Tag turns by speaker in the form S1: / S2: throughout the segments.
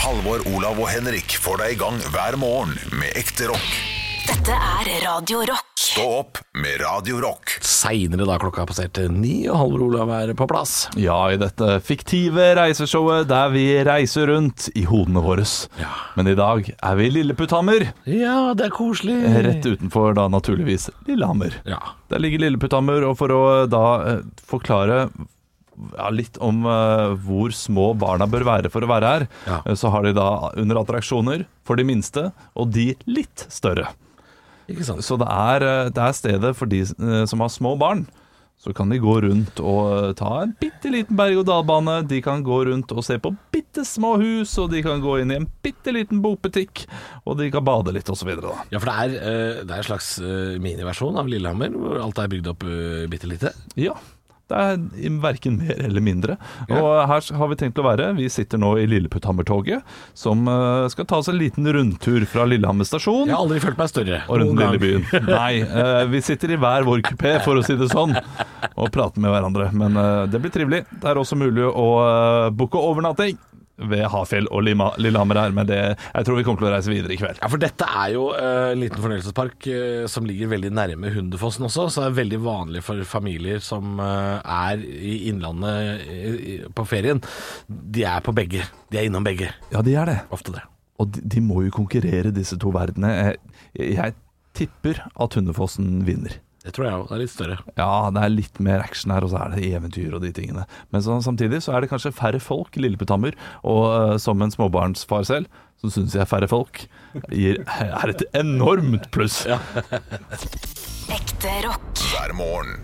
S1: Halvor, Olav og Henrik får deg i gang hver morgen med ekte rock.
S2: Dette er Radio Rock.
S1: Stå opp med Radio Rock.
S3: Seinere da klokka passerte ni, og Halvor Olav er på plass.
S4: Ja, i dette fiktive reiseshowet der vi reiser rundt i hodene våre. Men i dag er vi i Lilleputthammer,
S3: Ja, det er koselig.
S4: rett utenfor da naturligvis Lillehammer.
S3: Ja.
S4: Der ligger Lilleputthammer, og for å da eh, forklare ja, litt om eh, hvor små barna bør være for å være her,
S3: Ja.
S4: eh, så har de da under attraksjoner for de minste, og de litt større.
S3: Ikke sant?
S4: Så det er, eh, det er stedet for de eh, som har små barn. Så kan de gå rundt og eh, ta en bitte liten berg-og-dal-bane. De kan gå rundt og se på bitte små hus, og de kan gå inn i en bitte liten bokbutikk, og de kan bade litt osv.
S3: Ja, for det er, eh, det er en slags eh, miniversjon av Lillehammer, hvor alt er bygd opp eh, bitte lite.
S4: Ja. Det er i- verken mer eller mindre. Og her har vi tenkt å være. Vi sitter nå i Lilleputthammer-toget, som eh, skal ta oss en liten rundtur fra Lillehammer stasjon.
S3: Jeg har aldri følt meg større.
S4: og rundt
S3: noen
S4: den lille
S3: gang.
S4: byen. Nei, eh, vi sitter i hver vår kupé, for å si det sånn, og prater med hverandre. Men eh, det blir trivelig. Det er også mulig å eh, booke overnatting ved Hafjell og Lima, Lillehammer her, men det, jeg tror vi kommer til å reise videre i kveld.
S3: Ja, for dette er jo eh, en liten fornøyelsespark eh, som ligger veldig nærme Hundefossen også, så det er veldig vanlig for familier som eh, er i Innlandet eh, i- på ferien. De er på begge. De er innom begge.
S4: Ja, de er det.
S3: Ofte det.
S4: Og de, de må jo konkurrere, disse to verdenene. Jeg, jeg tipper at Hundefossen vinner.
S3: Det tror jeg òg. Det er litt større.
S4: Ja, det er litt mer action her, og så er det eventyr og de tingene. Men så, samtidig så er det kanskje færre folk i Lilleputthammer, og eh, som en småbarnsfar selv, så syns jeg færre folk gir, er et enormt pluss.
S2: Ekte rock.
S1: Hver morgen.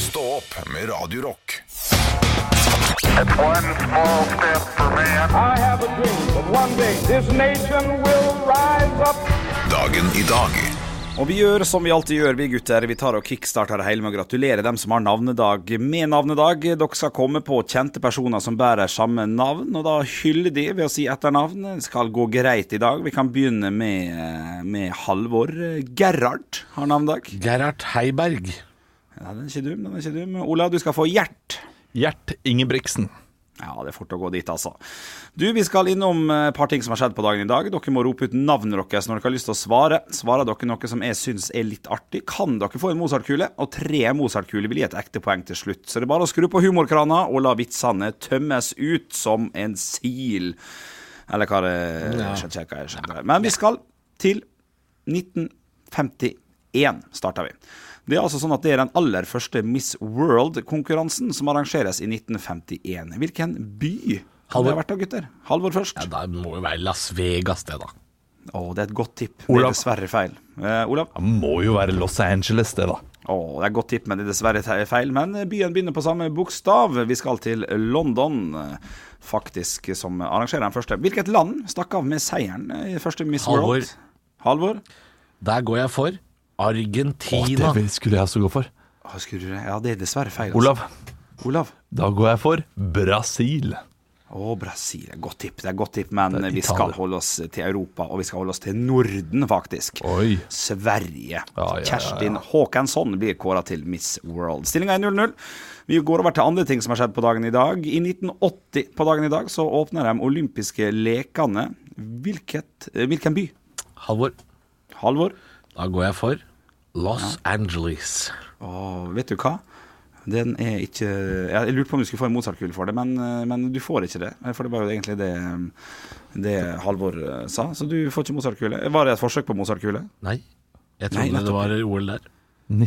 S1: Stå opp med Radio Rock.
S5: One small step for man.
S6: I have a dream that one day this nation will rise up.
S1: Dagen i dag.
S7: Og vi gjør som vi alltid gjør, vi gutter. Vi tar og kickstarter det hele med å gratulere dem som har navnedag med navnedag. Dere skal komme på kjente personer som bærer samme navn, og da hylle de ved å si etternavn. Det skal gå greit i dag. Vi kan begynne med, med Halvor. Gerhard har navnedag.
S3: Gerhard Heiberg.
S7: Ja, den er ikke dum, den er ikke dum. Olav, du skal få Gjert.
S4: Gjert Ingebrigtsen.
S7: Ja, det er fort å gå dit, altså. Du, Vi skal innom eh, et par ting som har skjedd på dagen i dag. Dere må rope ut navnet deres når dere har lyst til å svare. Svarer dere noe som jeg syns er litt artig, kan dere få en Mozart-kule. Og tre Mozart-kuler vil gi et ekte poeng til slutt. Så det er bare å skru på humorkrana og la vitsene tømmes ut som en sil. Eller hva det jeg skjønner ikke hva jeg skjønner. Men vi skal til 1951 starter vi. Det er altså sånn at det er den aller første Miss World-konkurransen som arrangeres i 1951. Hvilken by kan det ha
S3: Halvor.
S7: vært da, gutter? Halvor først.
S3: Ja, det må jo være Las Vegas, det, da.
S7: Å, det er et godt tipp. Det
S4: Olav.
S7: er dessverre feil. Eh, Olav?
S4: Det må jo være Los Angeles, det, da.
S7: Å, det er et godt tipp, men det er dessverre te- feil. Men eh, byen begynner på samme bokstav. Vi skal til London, eh, faktisk, som arrangerer den første. Hvilket land stakk av med seieren eh, i første Miss
S3: Halvor.
S7: World? Halvor?
S3: Der går jeg for
S4: Å,
S3: Argentina.
S4: det vil- skulle jeg også gå for.
S7: Å, skulle du det? Ja, det er dessverre feil. altså.
S4: Olav,
S7: Olav?
S4: da går jeg for Brasil.
S7: Å, Brasil. det er et Godt tipp, det er et godt tipp, men
S4: Det er
S7: vi
S4: Italia.
S7: skal holde oss til Europa, og vi skal holde oss til Norden, faktisk.
S4: Oi. ja,
S7: Sverige.
S4: ja,
S7: Kerstin Håkansson blir kåra til Miss World. Stillinga er 0-0. Vi går over til andre ting som har skjedd på dagen i dag. I 1980 på dagen i dag så åpner de olympiske lekene. Hvilket, eh, hvilken by?
S3: Halvor,
S7: Halvor?
S3: da går jeg for Los Angeles.
S7: Å, vet du hva? Den er ikke Jeg jeg lurte på om du skulle få en Mozart-kule for det, men, eh, men du får ikke det. For det var jo egentlig det, det Halvor eh, sa, så du får ikke Mozart-kule. Var det et forsøk på Mozart-kule?
S3: Nei, jeg
S7: Nei,
S3: trodde det
S7: nettopp.
S3: var OL der.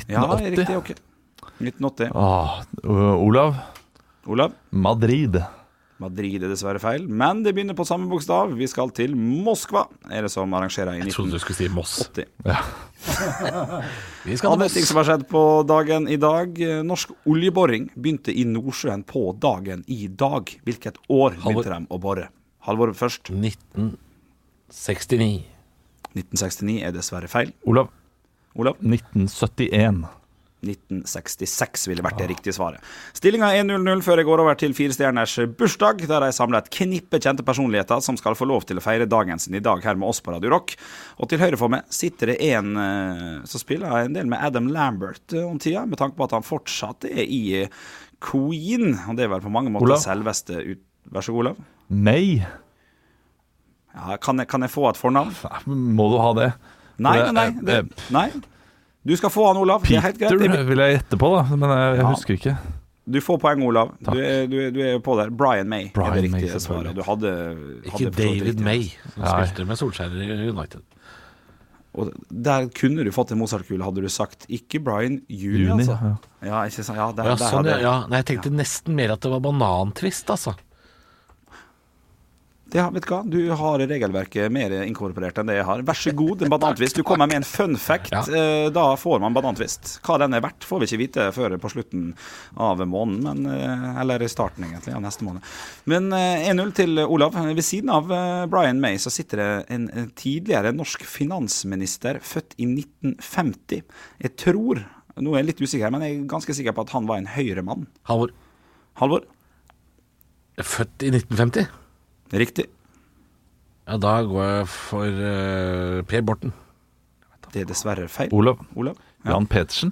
S7: Ja,
S4: 1980.
S7: riktig. Ok. 1980.
S4: Ah, øh, Olav,
S7: Olav?
S4: Madrid.
S7: Madrid er dessverre feil, men det begynner på samme bokstav. Vi skal til Moskva, er det som arrangerer i
S3: Jeg trodde du
S7: 1980.
S3: skulle si Moss. Vi skal til
S7: Andre ting
S3: Moss.
S7: som har skjedd på dagen i dag. Eh, Norsk oljeboring begynte i Nordsjøen på dagen i dag. Hvilket år begynte de å bore? Halvor først.
S3: 1969.
S7: 1969 er dessverre feil.
S4: Olav,
S7: Olav,
S4: 1971.
S7: 1966 ville
S4: Ah.
S7: vært det riktige svaret. Stillinga er 1-0-0 før jeg går over til firestjerners bursdag, der jeg samler et knippe kjente personligheter som skal få lov til å feire dagen sin i dag her med oss på Radio Rock. Og til høyre for meg sitter det en eh, som spiller en del med Adam Lambert eh, om tida, med tanke på at han fortsatt er i eh, Queen, og det er vel på mange måter
S4: Olav?
S7: selveste ut... Vær så god, Olav.
S4: Nei.
S7: Ja, kan, jeg, kan jeg få et fornavn?
S4: Må du ha det?
S7: Nei,
S4: For det-
S7: nei, nei, det, nei. Du skal få han, Olav. Det er helt
S4: eh, Peter
S7: greit.
S4: vil jeg gjette på, da, men jeg, jeg husker ikke.
S7: Du får poeng, Olav. Du er, du, er, du er på der. Brian May
S4: Brian
S7: er det
S4: May,
S7: riktige
S4: selvfølgelig.
S7: svaret. Du hadde,
S3: Ikke
S7: hadde forstått
S3: David
S7: riktig.
S3: May, som
S4: Nei.
S3: spilte med Solskjær i United.
S7: Og der kunne du fått en Mozart-kule, hadde du sagt. Ikke Brian Juni,
S4: Juni,
S7: altså.
S4: ja.
S7: Ja, ikke sant. Ja, der,
S3: Ja,
S7: der
S3: sånn, ja,
S7: hadde-
S3: ja. Nei, jeg tenkte nesten mer at det var banantvist, altså.
S7: Ja, vet du hva? Du har regelverket mer inkorporert enn det jeg har. Vær så god, en banantvist. Du kommer med en fun fact.
S3: Ja.
S7: eh, Da får man banantvist. Hva den er verdt, får vi ikke vite før på slutten av måneden. Men, eh, eller i starten, egentlig, av neste måned. Men eh, 1-0 til Olav. Ved siden av eh, Brian May så sitter det en en tidligere norsk finansminister, født i 1950. Jeg tror Nå er jeg litt usikker, men jeg er ganske sikker på at han var en høyremann.
S3: Halvor.
S7: Halvor?
S3: Født i 1950?
S7: Riktig.
S3: Ja, da går jeg for eh, Per Borten.
S7: Det er dessverre feil.
S4: Olav.
S7: Olav?
S4: Jan Petersen.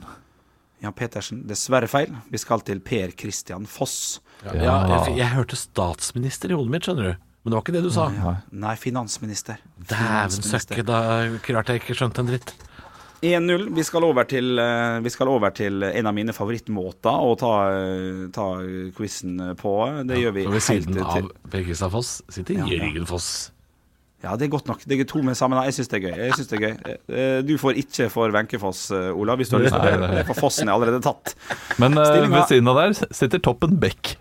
S7: Jan Petersen, dessverre feil. Vi skal til Per Christian Foss.
S3: Ja, jeg, f- jeg hørte statsminister i hodet mitt, skjønner du. Men det var ikke det du sa.
S7: Nei, finansminister.
S3: Dæven søkke, da klart jeg ikke skjønte en dritt.
S7: 1-0. Vi skal over til, eh, vi skal over til en av mine favorittmåter å ta, eh, ta quizen på. Det gjør vi
S3: Og ved
S7: helt
S3: siden
S7: til
S3: av Per Kristian Foss sitter
S7: Ja, ja.
S3: Jørgen Foss.
S7: Ja, det er godt nok. Det er to med sammen. Nei, Jeg syns det er gøy. Jeg synes det er gøy. Eh, Du får ikke for Wenchefoss, eh, Olav, hvis du har lyst til
S4: Nei,
S7: det.
S4: nei.
S7: Det er for Fossen er allerede tatt.
S4: Men eh,
S7: Stillinga-
S4: ved siden av der sitter Toppen Beck.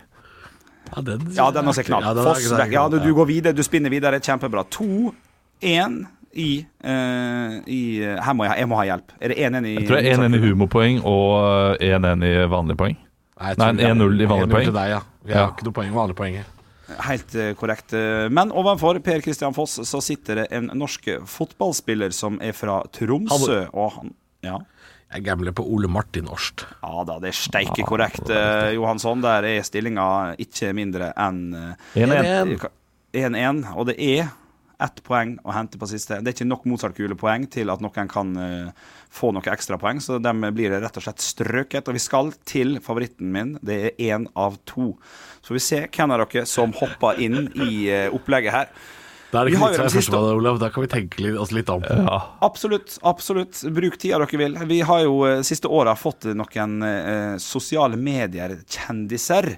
S3: Ja, den,
S7: Ja, den også er knall.
S3: Ja, den er-
S7: Foss vekk. Ja, du, du går videre, du spinner videre. Kjempebra. 2-1 i, eh, i Her må jeg, ha- jeg må ha hjelp. Er det 1-1 i
S4: Jeg tror det er 1-1 i humorpoeng og eh, 1-1 i vanlige poeng.
S3: jeg
S4: Nei,
S3: tror det er-
S4: 1-0 i vanlig
S3: 1-0
S4: poeng.
S3: til Deg, ja. Jeg har
S4: Ja.
S3: ikke noe poeng i vanlige poeng. jeg.
S7: Helt eh, korrekt. Eh, Men ovenfor Per Kristian Foss så sitter det en norsk fotballspiller som er fra Tromsø. Og han ja.
S3: Jeg gambler på Ole Martin Årst.
S7: ja da, det er steike korrekt, eh, Johansson. Der er stillinga ikke mindre enn eh,
S4: 1-1.
S7: 1-1. Og det er ett poeng å hente på siste. Det er ikke nok Mozart-kulepoeng til at noen kan eh, få noe ekstrapoeng, så dem blir det rett og slett strøket. Og vi skal til favoritten min. Det er én av to. Så får vi se hvem av dere som hopper inn i eh, opplegget her.
S3: Da er det
S7: Vi
S3: ikke vits i å
S7: har jo den
S3: være
S7: siste-
S3: førstemann, Olav. Da kan vi tenke litt- oss litt om.
S7: Absolutt. absolutt. Bruk tida dere vil. Vi har jo eh, siste året fått noen eh, sosiale medier-kjendiser.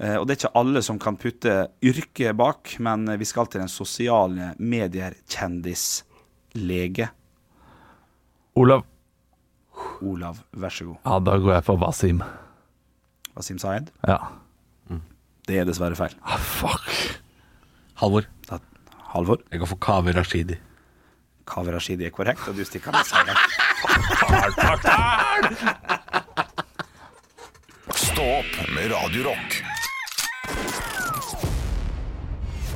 S7: Eh, og det er ikke alle som kan putte yrke bak, men vi skal til en sosiale medier-kjendislege.
S4: Olav.
S7: Olav, vær så god.
S4: Ja, da går jeg for Wasim.
S7: Wasim Sayed.
S4: Ja.
S7: Det er dessverre feil.
S4: Ah, fuck.
S3: Halvor,
S7: Da- Halvor,
S3: jeg går for Kaveh Rashidi.
S7: Kaveh Rashidi er korrekt, og du stikker med seieren.
S1: Stå opp med Radio Rock.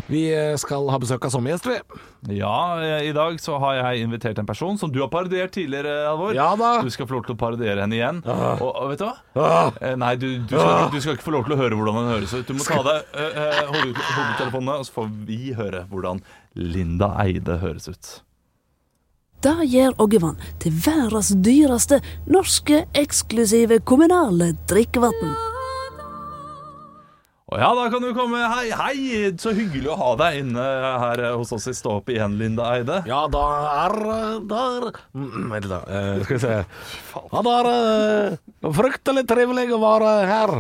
S3: Vi eh, skal ha besøk av sommergjest, vi.
S4: Ja, eh, i dag så har jeg invitert en person som du har parodiert tidligere, Alvor.
S3: Ja da.
S4: Du skal få lov til å parodiere henne igjen. Og, og vet du hva?
S3: Ah.
S4: Eh, Nei, du, du, skal, ikke- du skal ikke få lov til å høre hvordan den høres ut. Du må ta av deg eh, eh, hode- hodetelefonene, og så får vi høre hvordan Linda Eide høres ut.
S8: Det gjør Oggevann til verdens dyreste norske eksklusive kommunale drikkevann.
S4: Og ja, da kan du komme. Hei, hei! Så hyggelig å ha deg inne her eh, hos oss i Stå opp igjen, Linda Eide.
S3: Ja, da er der mm, Vent, da. eh, skal vi se. Ja, det er eh, fryktelig trivelig å være her.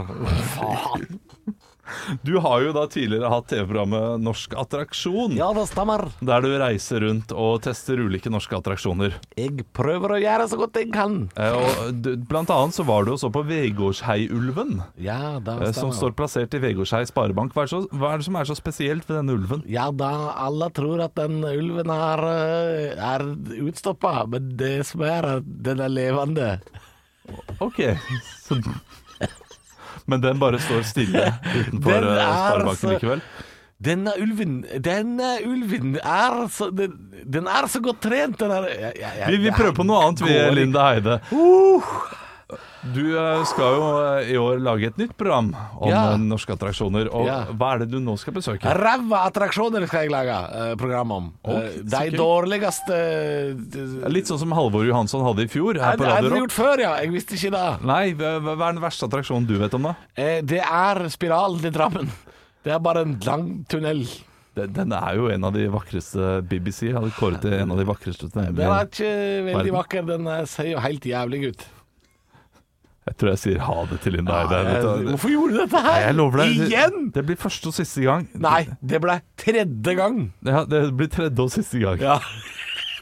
S3: Faen.
S4: Du har jo da tidligere hatt TV-programmet Norsk attraksjon,
S3: Ja, det stemmer.
S4: der du reiser rundt og tester ulike norske attraksjoner.
S3: Jeg prøver å gjøre så godt jeg kan.
S4: Eh, Og du, blant annet så var du og så på Vegårsheiulven,
S3: Ja, det
S4: eh,
S3: stemmer.
S4: som står plassert i Vegårshei sparebank. Hva er, det så, hva er det som er så spesielt ved denne ulven?
S3: Ja da, alle tror at den ulven er, eh, er utstoppa, men det som er at den er levende.
S4: Ok, så... Men den bare står stille utenfor
S3: Den
S4: eh,
S3: er altså
S4: sparebanken
S3: så-
S4: likevel?
S3: Denne ulven, denne ulven er så, den, den er så godt trent, den er jeg, jeg, jeg-
S4: Vi, vi prøver på noe annet, vi,
S3: går ikke.
S4: Linda Heide. Uh. Du eh, skal jo eh, i år lage et nytt program om
S3: Ja.
S4: eh, norske attraksjoner. Og
S3: Ja.
S4: hva er det du nå skal besøke?
S3: Ræva attraksjoner skal jeg lage eh, program om. Eh,
S4: Ok, så
S3: de
S4: kult.
S3: dårligste
S4: Litt sånn som Halvor Johansson hadde i fjor her
S3: Jeg
S4: på
S3: jeg
S4: Radio
S3: hadde
S4: Rock.
S3: gjort før, ja. Jeg visste ikke det.
S4: Nei, hva hva er den verste attraksjonen du vet om, da?
S3: Eh, Det er spiralen til Drammen. Det er bare en lang tunnel.
S4: Den, den er jo en av de vakreste BBC hadde kåret til en av de vakreste
S3: Den er
S4: tunnelene.
S3: ikke veldig
S4: Verden.
S3: vakker. Den er- ser jo helt jævlig ut.
S4: Jeg tror jeg sier ha det til Linda Eide.
S3: Nei,
S4: vet du.
S3: Eh, Hvorfor gjorde du dette her?
S4: Nei, jeg lover deg. det-
S3: Igjen?
S4: Det blir første og siste gang.
S3: Nei, det ble tredje gang.
S4: Ja, det blir tredje og siste gang.
S3: Ja.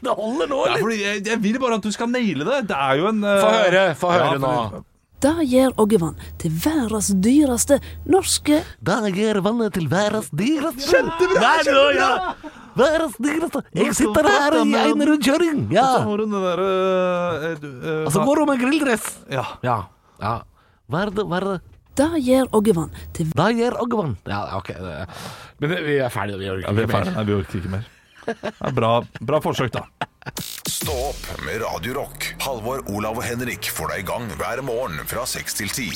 S3: Det holder nå,
S4: Ja,
S3: eller?
S4: fordi jeg, jeg vil bare at du skal naile det. Det er jo en eh,
S3: Få høre, få høre
S4: ja,
S3: nå.
S8: Det gjør Oggevann til verdens dyreste norske
S9: Da gjør vannet til verdens dyreste.
S3: Kjempebra!
S9: Nei, nå, ja. Verdens dyreste. Jeg sitter her i en rundkjøring. Ja.
S4: Så har hun den derre eh,
S9: Og så
S3: Altså,
S9: går hun med grilldress.
S4: Ja.
S3: Ja. ja.
S9: Hva er det, hva er det?
S8: Det gjør Oggevann til
S9: Da gjør Oggevann.
S3: Ja, ok. det- Men det- vi er ferdige. Vi orker
S4: Vi
S3: ikke
S4: er
S3: mer.
S4: ferdige. Nei, vi orker ikke mer. Ja, bra, bra forsøk, da.
S1: Stå opp med Radio Rock. Halvor, Olav og Henrik får deg i gang hver morgen fra 6 til 10.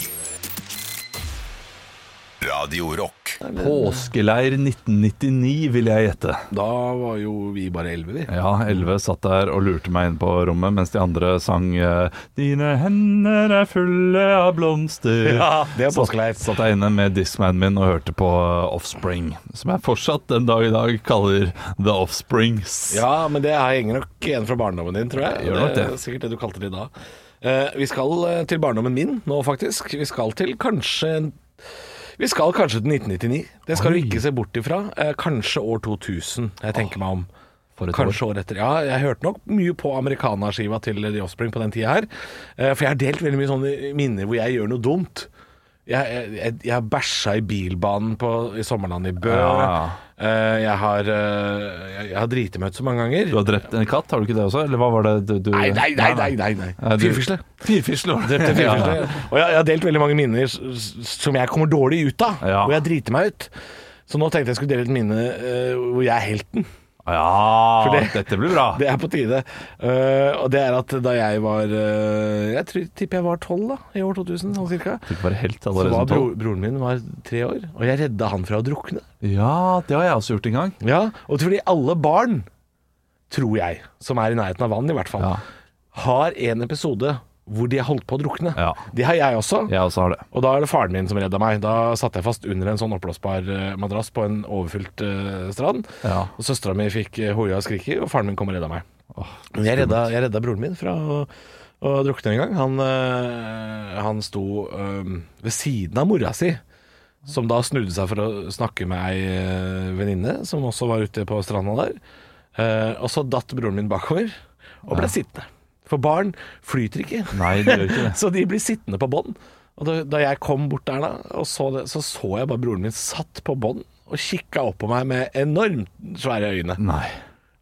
S1: Radio Rock.
S4: Påskeleir 1999, vil jeg gjette.
S3: Da var jo vi bare elleve, vi.
S4: Ja, Elleve satt der og lurte meg inn på rommet mens de andre sang eh, 'Dine hender er fulle av blomster'.
S3: Ja, det er påskeleir.
S4: Satt, satt jeg inne med discmanen min og hørte på eh, Offspring, som jeg fortsatt den dag i dag kaller The Offsprings.
S3: Ja, men det er- henger nok igjen fra barndommen din, tror jeg.
S4: Gjør nok
S3: er
S4: det.
S3: sikkert det du kalte det da. Eh, vi skal eh, til barndommen min nå, faktisk. Vi skal til kanskje Vi skal kanskje til 1999. Det skal du ikke se bort ifra. Eh, kanskje år 2000, jeg tenker meg om.
S4: et
S3: Kanskje år etter. Ja, jeg hørte nok mye på americana-skiva til The Offspring på den tida her. Eh, For jeg har delt veldig mye sånne minner hvor jeg gjør noe dumt. Jeg, jeg, jeg, jeg har bæsja i bilbanen på, i sommerlandet i Bø.
S4: Ja.
S3: Eh, Jeg har, eh, jeg- jeg har driti meg ut så mange ganger.
S4: Du har drept en katt, har du ikke det også? Eller hva var det du, du
S3: Nei, nei, nei, nei, nei, nei.
S4: Ja, du-
S3: Firfisle.
S4: Firfisle var det.
S3: Drepte firfisle.
S4: Ja.
S3: Og jeg, jeg har delt veldig mange minner s- s- som jeg kommer dårlig ut av,
S4: Ja.
S3: og jeg driter meg ut. Så nå tenkte jeg skulle dele et minne eh, hvor jeg er helten.
S4: Ah, Ja,
S3: For det-
S4: dette blir bra.
S3: Det er på tide. Eh, og det er at da jeg var eh, Jeg tror, tipper jeg var tolv, da. I år 2000, sånn cirka.
S4: Du fikk være helt
S3: Så
S4: allerede
S3: var
S4: som
S3: bro,
S4: tolv.
S3: broren min var tre år, og jeg redda han fra å drukne.
S4: Ja, det har jeg også gjort en gang.
S3: Ja, Og fordi alle barn, tror jeg, som er i nærheten av vann i hvert fall,
S4: Ja.
S3: har en episode hvor de har holdt på å drukne.
S4: Ja.
S3: Det har jeg også.
S4: Jeg også har det.
S3: Og da er det faren min som redda meg. Da satt jeg fast under en sånn oppblåsbar eh, madrass på en overfylt eh, strand.
S4: Ja.
S3: Og søstera mi fikk eh, hoia og skrike, og faren min kom og redda meg. Men jeg redda, jeg redda broren min fra å, å drukne en gang. Han, eh, han sto eh, ved siden av mora si. Som da snudde seg for å snakke med ei eh, venninne som også var ute på stranda der. Eh, og så datt broren min bakover og ble sittende. For barn flyter ikke.
S4: Nei, det gjør ikke det.
S3: Så de blir sittende på bånd. Og da, da jeg kom bort der da, og så det, så så jeg bare broren min satt på bånd og kikka opp på meg med enormt svære øyne.
S4: Nei.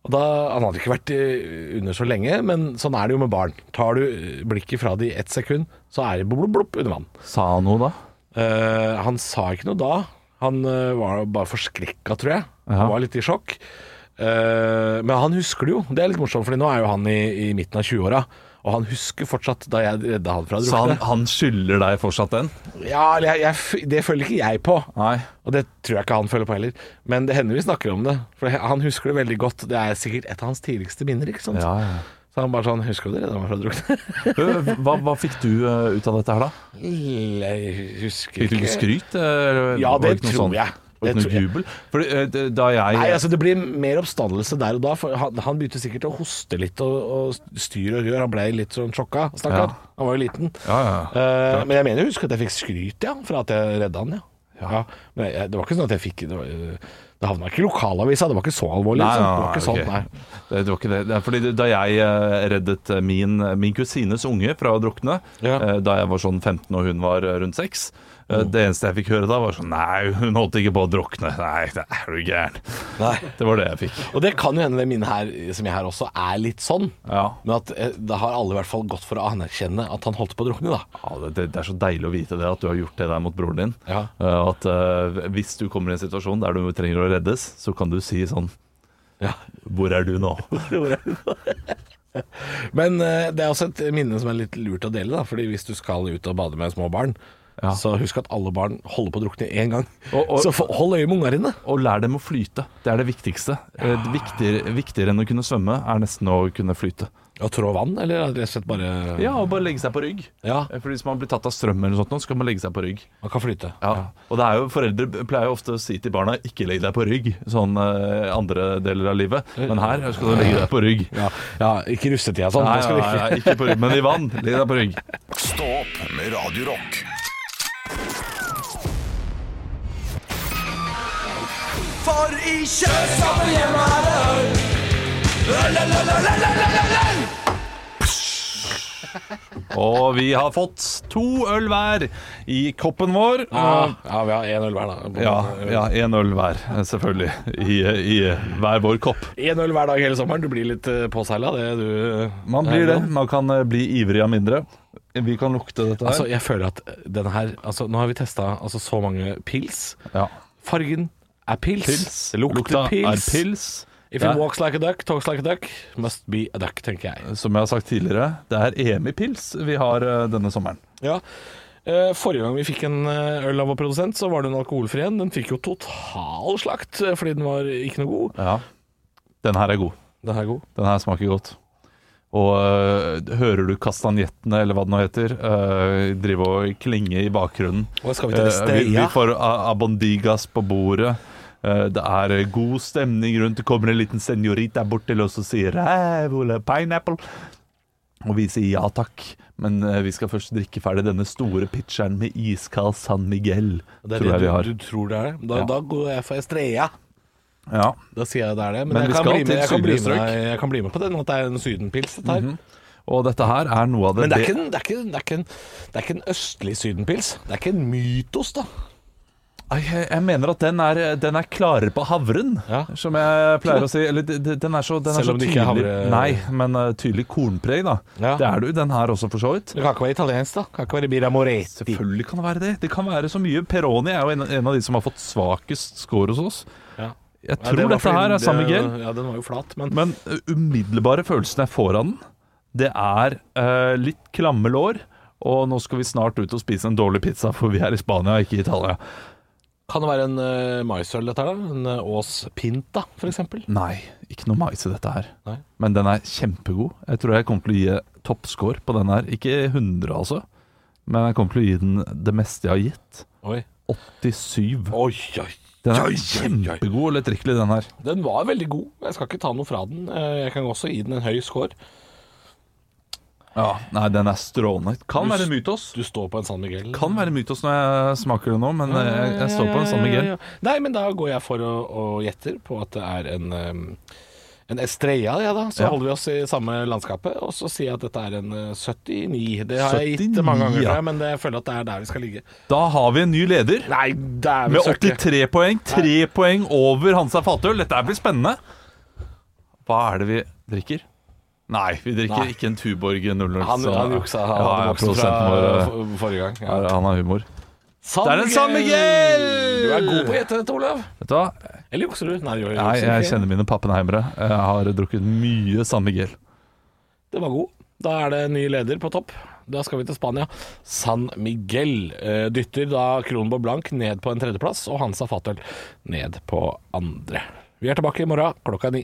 S3: Og da, Han hadde ikke vært eh, under så lenge, men sånn er det jo med barn. Tar du eh, blikket fra de ett sekund, så er de blopp, blopp under vann.
S4: Sa han noe da?
S3: Eh, han sa ikke noe da. Han eh, var bare forskrekka, tror jeg.
S4: Ja.
S3: Han var litt i sjokk. Eh, men han husker det jo. Det er litt morsomt, Fordi nå er jo han i, i midten av 20-åra. Og han husker fortsatt da jeg redda han fra å
S4: Sa
S3: drukne.
S4: han, han skylder deg fortsatt den?
S3: Ja, eller jeg, jeg, f- det føler ikke jeg på.
S4: Nei.
S3: Og det tror jeg ikke han føler på heller. Men det hender vi snakker om det. For he- han husker det veldig godt. Det er sikkert et av hans tidligste minner. ikke sant?
S4: Ja, ja.
S3: Så han bare sånn Husker du det? Da var fra drukne.
S4: Ø, Hva, hva fikk du ø, ut av dette her, da?
S3: Jeg husker
S4: Fikk du ikke skryt? eh, eller
S3: Ja,
S4: var
S3: det
S4: ikke noe
S3: tror
S4: sånn-
S3: jeg.
S4: var
S3: Det
S4: ikke
S3: tror
S4: noe
S3: jeg.
S4: jubel? Fordi, ø, d- da jeg
S3: Nei, altså Det blir mer oppstandelse der og da. For han, han begynte sikkert å hoste litt og, og styr og rør. Han ble litt sånn sjokka. Stakkar.
S4: Ja.
S3: Han var jo liten.
S4: Ja, ja, ja.
S3: Eh, men jeg mener jeg husker at jeg fikk skryt ja, for at jeg redda han. Ja. Ja. Men jeg, det var ikke sånn at jeg fikk Det, var, eh, det havna ikke i lokalavisa. Det var ikke så alvorlig.
S4: Nei,
S3: liksom.
S4: nei,
S3: det var ikke
S4: nei,
S3: sånn,
S4: ok.
S3: nei.
S4: Det, det var ikke det. det er fordi det- da jeg eh, reddet eh, min, min kusines unge fra å drukne,
S3: Ja. Mm.
S4: eh, da jeg var sånn 15 og hun var eh, rundt 6 eh, Det eneste jeg fikk høre da, var sånn Nei, hun holdt ikke på å drukne. Nei, det er du gæren. Det var det jeg fikk.
S3: Og det kan jo hende det minnet her som jeg har også er litt sånn.
S4: Ja.
S3: Men at eh, det har alle i hvert fall gått for å anerkjenne at han holdt på å drukne, da.
S4: Ja, det, det, det er så deilig å vite det, at du har gjort det der mot broren din.
S3: Ja.
S4: Eh, At eh, hvis du kommer i en situasjon der du trenger å reddes, så kan du si sånn
S3: Ja.
S4: Hvor er du nå?
S3: Men eh, det er også et minne som er litt lurt å dele, da. Fordi hvis du skal ut og bade med små barn,
S4: Ja.
S3: så husk at alle barn holder på å drukne én gang.
S4: Og- og-
S3: så få- hold øye med unga dine.
S4: Og lær dem å flyte. Det er det viktigste. Eh, Viktigere, viktigere enn å kunne svømme er nesten å kunne flyte.
S3: Å trå vann, eller er det rett og slett bare
S4: Ja, og bare legge seg på rygg.
S3: Ja,
S4: For hvis man blir tatt av strøm eller noe sånt, nå, så kan man legge seg på rygg.
S3: man kan flyte.
S4: Ja. Og det er jo, foreldre pleier jo ofte å si til barna 'ikke legg deg på rygg', sånn eh, andre deler av livet. Men her skal du legge deg på rygg.
S3: Ja, ja ikke russetida sånn.
S4: Nei,
S3: det skal
S4: nei,
S3: vi ikke.
S4: nei, ikke på rygg, men i vann. Legg deg på rygg.
S1: Stå opp med Radio Rock.
S4: Og vi har fått to øl hver i koppen vår.
S3: Ja, ja, vi har én øl hver, da.
S4: Ja, ja, én øl hver, selvfølgelig. I, i hver vår kopp.
S3: Én øl hver dag hele sommeren. Du blir litt eh, påseila, det du
S4: Man blir det. Man kan eh, bli ivrig av mindre. Vi kan lukte dette her.
S3: Altså, jeg føler at den her altså, Nå har vi testa altså, så mange pils.
S4: ja.
S3: Fargen er pils.
S4: Pils.
S3: Det lukter
S4: Lukta
S3: pils.
S4: er pils.
S3: If you
S4: Ja.
S3: walks like a duck, talks like a duck, must be a duck, tenker jeg.
S4: Som jeg har sagt tidligere, det er EM i pils vi har eh, denne sommeren.
S3: Ja. Eh, Forrige gang vi fikk en eh, øl av vår produsent, så var det en alkoholfri en. Den fikk jo total slakt eh, fordi den var ikke noe god.
S4: Ja. Den her er god.
S3: Den her er god.
S4: Den her smaker godt. Og eh, hører du kastanjettene, eller hva det nå heter, eh, drive og klinge i bakgrunnen.
S3: Og skal vi til neste,
S4: Eh, vi,
S3: ja.
S4: vi får a- abondigas på bordet. Eh, Det er eh, god stemning rundt. Det kommer en liten seniorit der bort til oss og sier «Jeg vil ha pineapple. Og vi sier ja takk, men eh, vi skal først drikke ferdig denne store pitcheren med iskald San Miguel.
S3: Det er
S4: tror jeg
S3: det
S4: vi har.
S3: du, du tror det er det? Da,
S4: Ja.
S3: da går jeg for Estrella.
S4: Ja.
S3: Da sier jeg det er det. Men,
S4: Men vi
S3: jeg, kan
S4: skal
S3: bli med,
S4: til
S3: jeg, kan bli
S4: sydlige
S3: med,
S4: strøk.
S3: jeg kan bli med på den, at det er en sydenpils. Dette her.
S4: Og dette her er noe av Mhm. det
S3: Men det er, ikke en, det, er ikke, en- det, er ikke en, det er ikke en østlig sydenpils. Det er ikke en mytos, da.
S4: Nei, Jeg jeg mener at den er, den er klarere på havren,
S3: Ja.
S4: som jeg pleier å si. Eller d- d- den er så, den
S3: Selv
S4: er så
S3: om det
S4: tydelig
S3: ikke er havre-
S4: Nei, men eh, tydelig kornpreg, da.
S3: Ja.
S4: Det er det jo den her også, for så vidt.
S3: Det kan ikke være italiensk, da. Det kan ikke være Bira Moretti.
S4: Selvfølgelig kan det være det. Det kan være så mye. Peroni er jo en, en av de som har fått svakest score hos oss.
S3: Ja.
S4: Jeg
S3: Ja,
S4: tror
S3: det var
S4: dette
S3: fordi
S4: her
S3: det-
S4: er samme gel,
S3: Ja, den var jo flat, men
S4: men eh, umiddelbare følelsen jeg får av den, det er eh, litt klamme lår, og nå skal vi snart ut og spise en dårlig pizza, for vi er i Spania, ikke i Italia.
S3: Kan det være en uh, maisøl, dette her? da? En eh, Ås Pinta, for eksempel?
S4: Nei, ikke noe mais i dette her.
S3: Nei.
S4: Men den er kjempegod. Jeg tror jeg kommer til å gi toppscore på den her. Ikke 100, altså, men jeg kommer til å gi den det meste jeg har gitt.
S3: Oi.
S4: 87.
S3: Oi, oi.
S4: Den
S3: Oi, oi,
S4: er
S3: oi.
S4: kjempegod og lettdrikkelig, den her.
S3: Den var veldig god. Jeg skal ikke ta noe fra den. Eh, Jeg kan også gi den en høy score.
S4: Ja, Nei, den er strålende. Kan være mytos.
S3: Du står på en San Miguel.
S4: Kan være mytos når jeg smaker det nå, men
S3: Ja,
S4: jeg, jeg står på den samme
S3: ja, ja,
S4: gen.
S3: ja, ja. Nei, men da går jeg for å, å gjetter på at det er en eh, en Estrella, ja da. Så
S4: Ja.
S3: holder vi oss i samme landskapet. Og så sier jeg at dette er en eh, 79. Det har jeg gitt
S4: 79,
S3: mange ganger,
S4: ja.
S3: tror jeg, men det- jeg føler at det er der vi skal ligge.
S4: Da har vi en ny leder
S3: Nei, dæven
S4: med
S3: søkke.
S4: 83 poeng. Tre poeng over Hansa Fatøl. Dette her blir spennende. Hva er det vi drikker? Nei, vi drikker
S3: Nei.
S4: ikke en Tuborg 00.
S3: Han,
S4: så-
S3: han juksa. Han
S4: Ja,
S3: hadde
S4: ja,
S3: vokst fra
S4: produsenten vår, eh,
S3: for- forrige gang. Ja.
S4: er- Han har humor.
S3: San
S4: Det er den samme gjeld!
S3: Du er god på å gjette dette, Olav.
S4: Vet du hva?
S3: Eller jukser du? Nei, du gjør-
S4: Nei,
S3: jukser
S4: jeg
S3: ikke.
S4: kjenner mine pappenheimere. Jeg har drukket mye San Miguel.
S3: Det var god. Da er det ny leder på topp. Da skal vi til Spania. San Miguel eh, dytter da Kronborg Blank ned på en tredjeplass, og Hansa Fatøl ned på andre. Vi er tilbake i morgen klokka ni.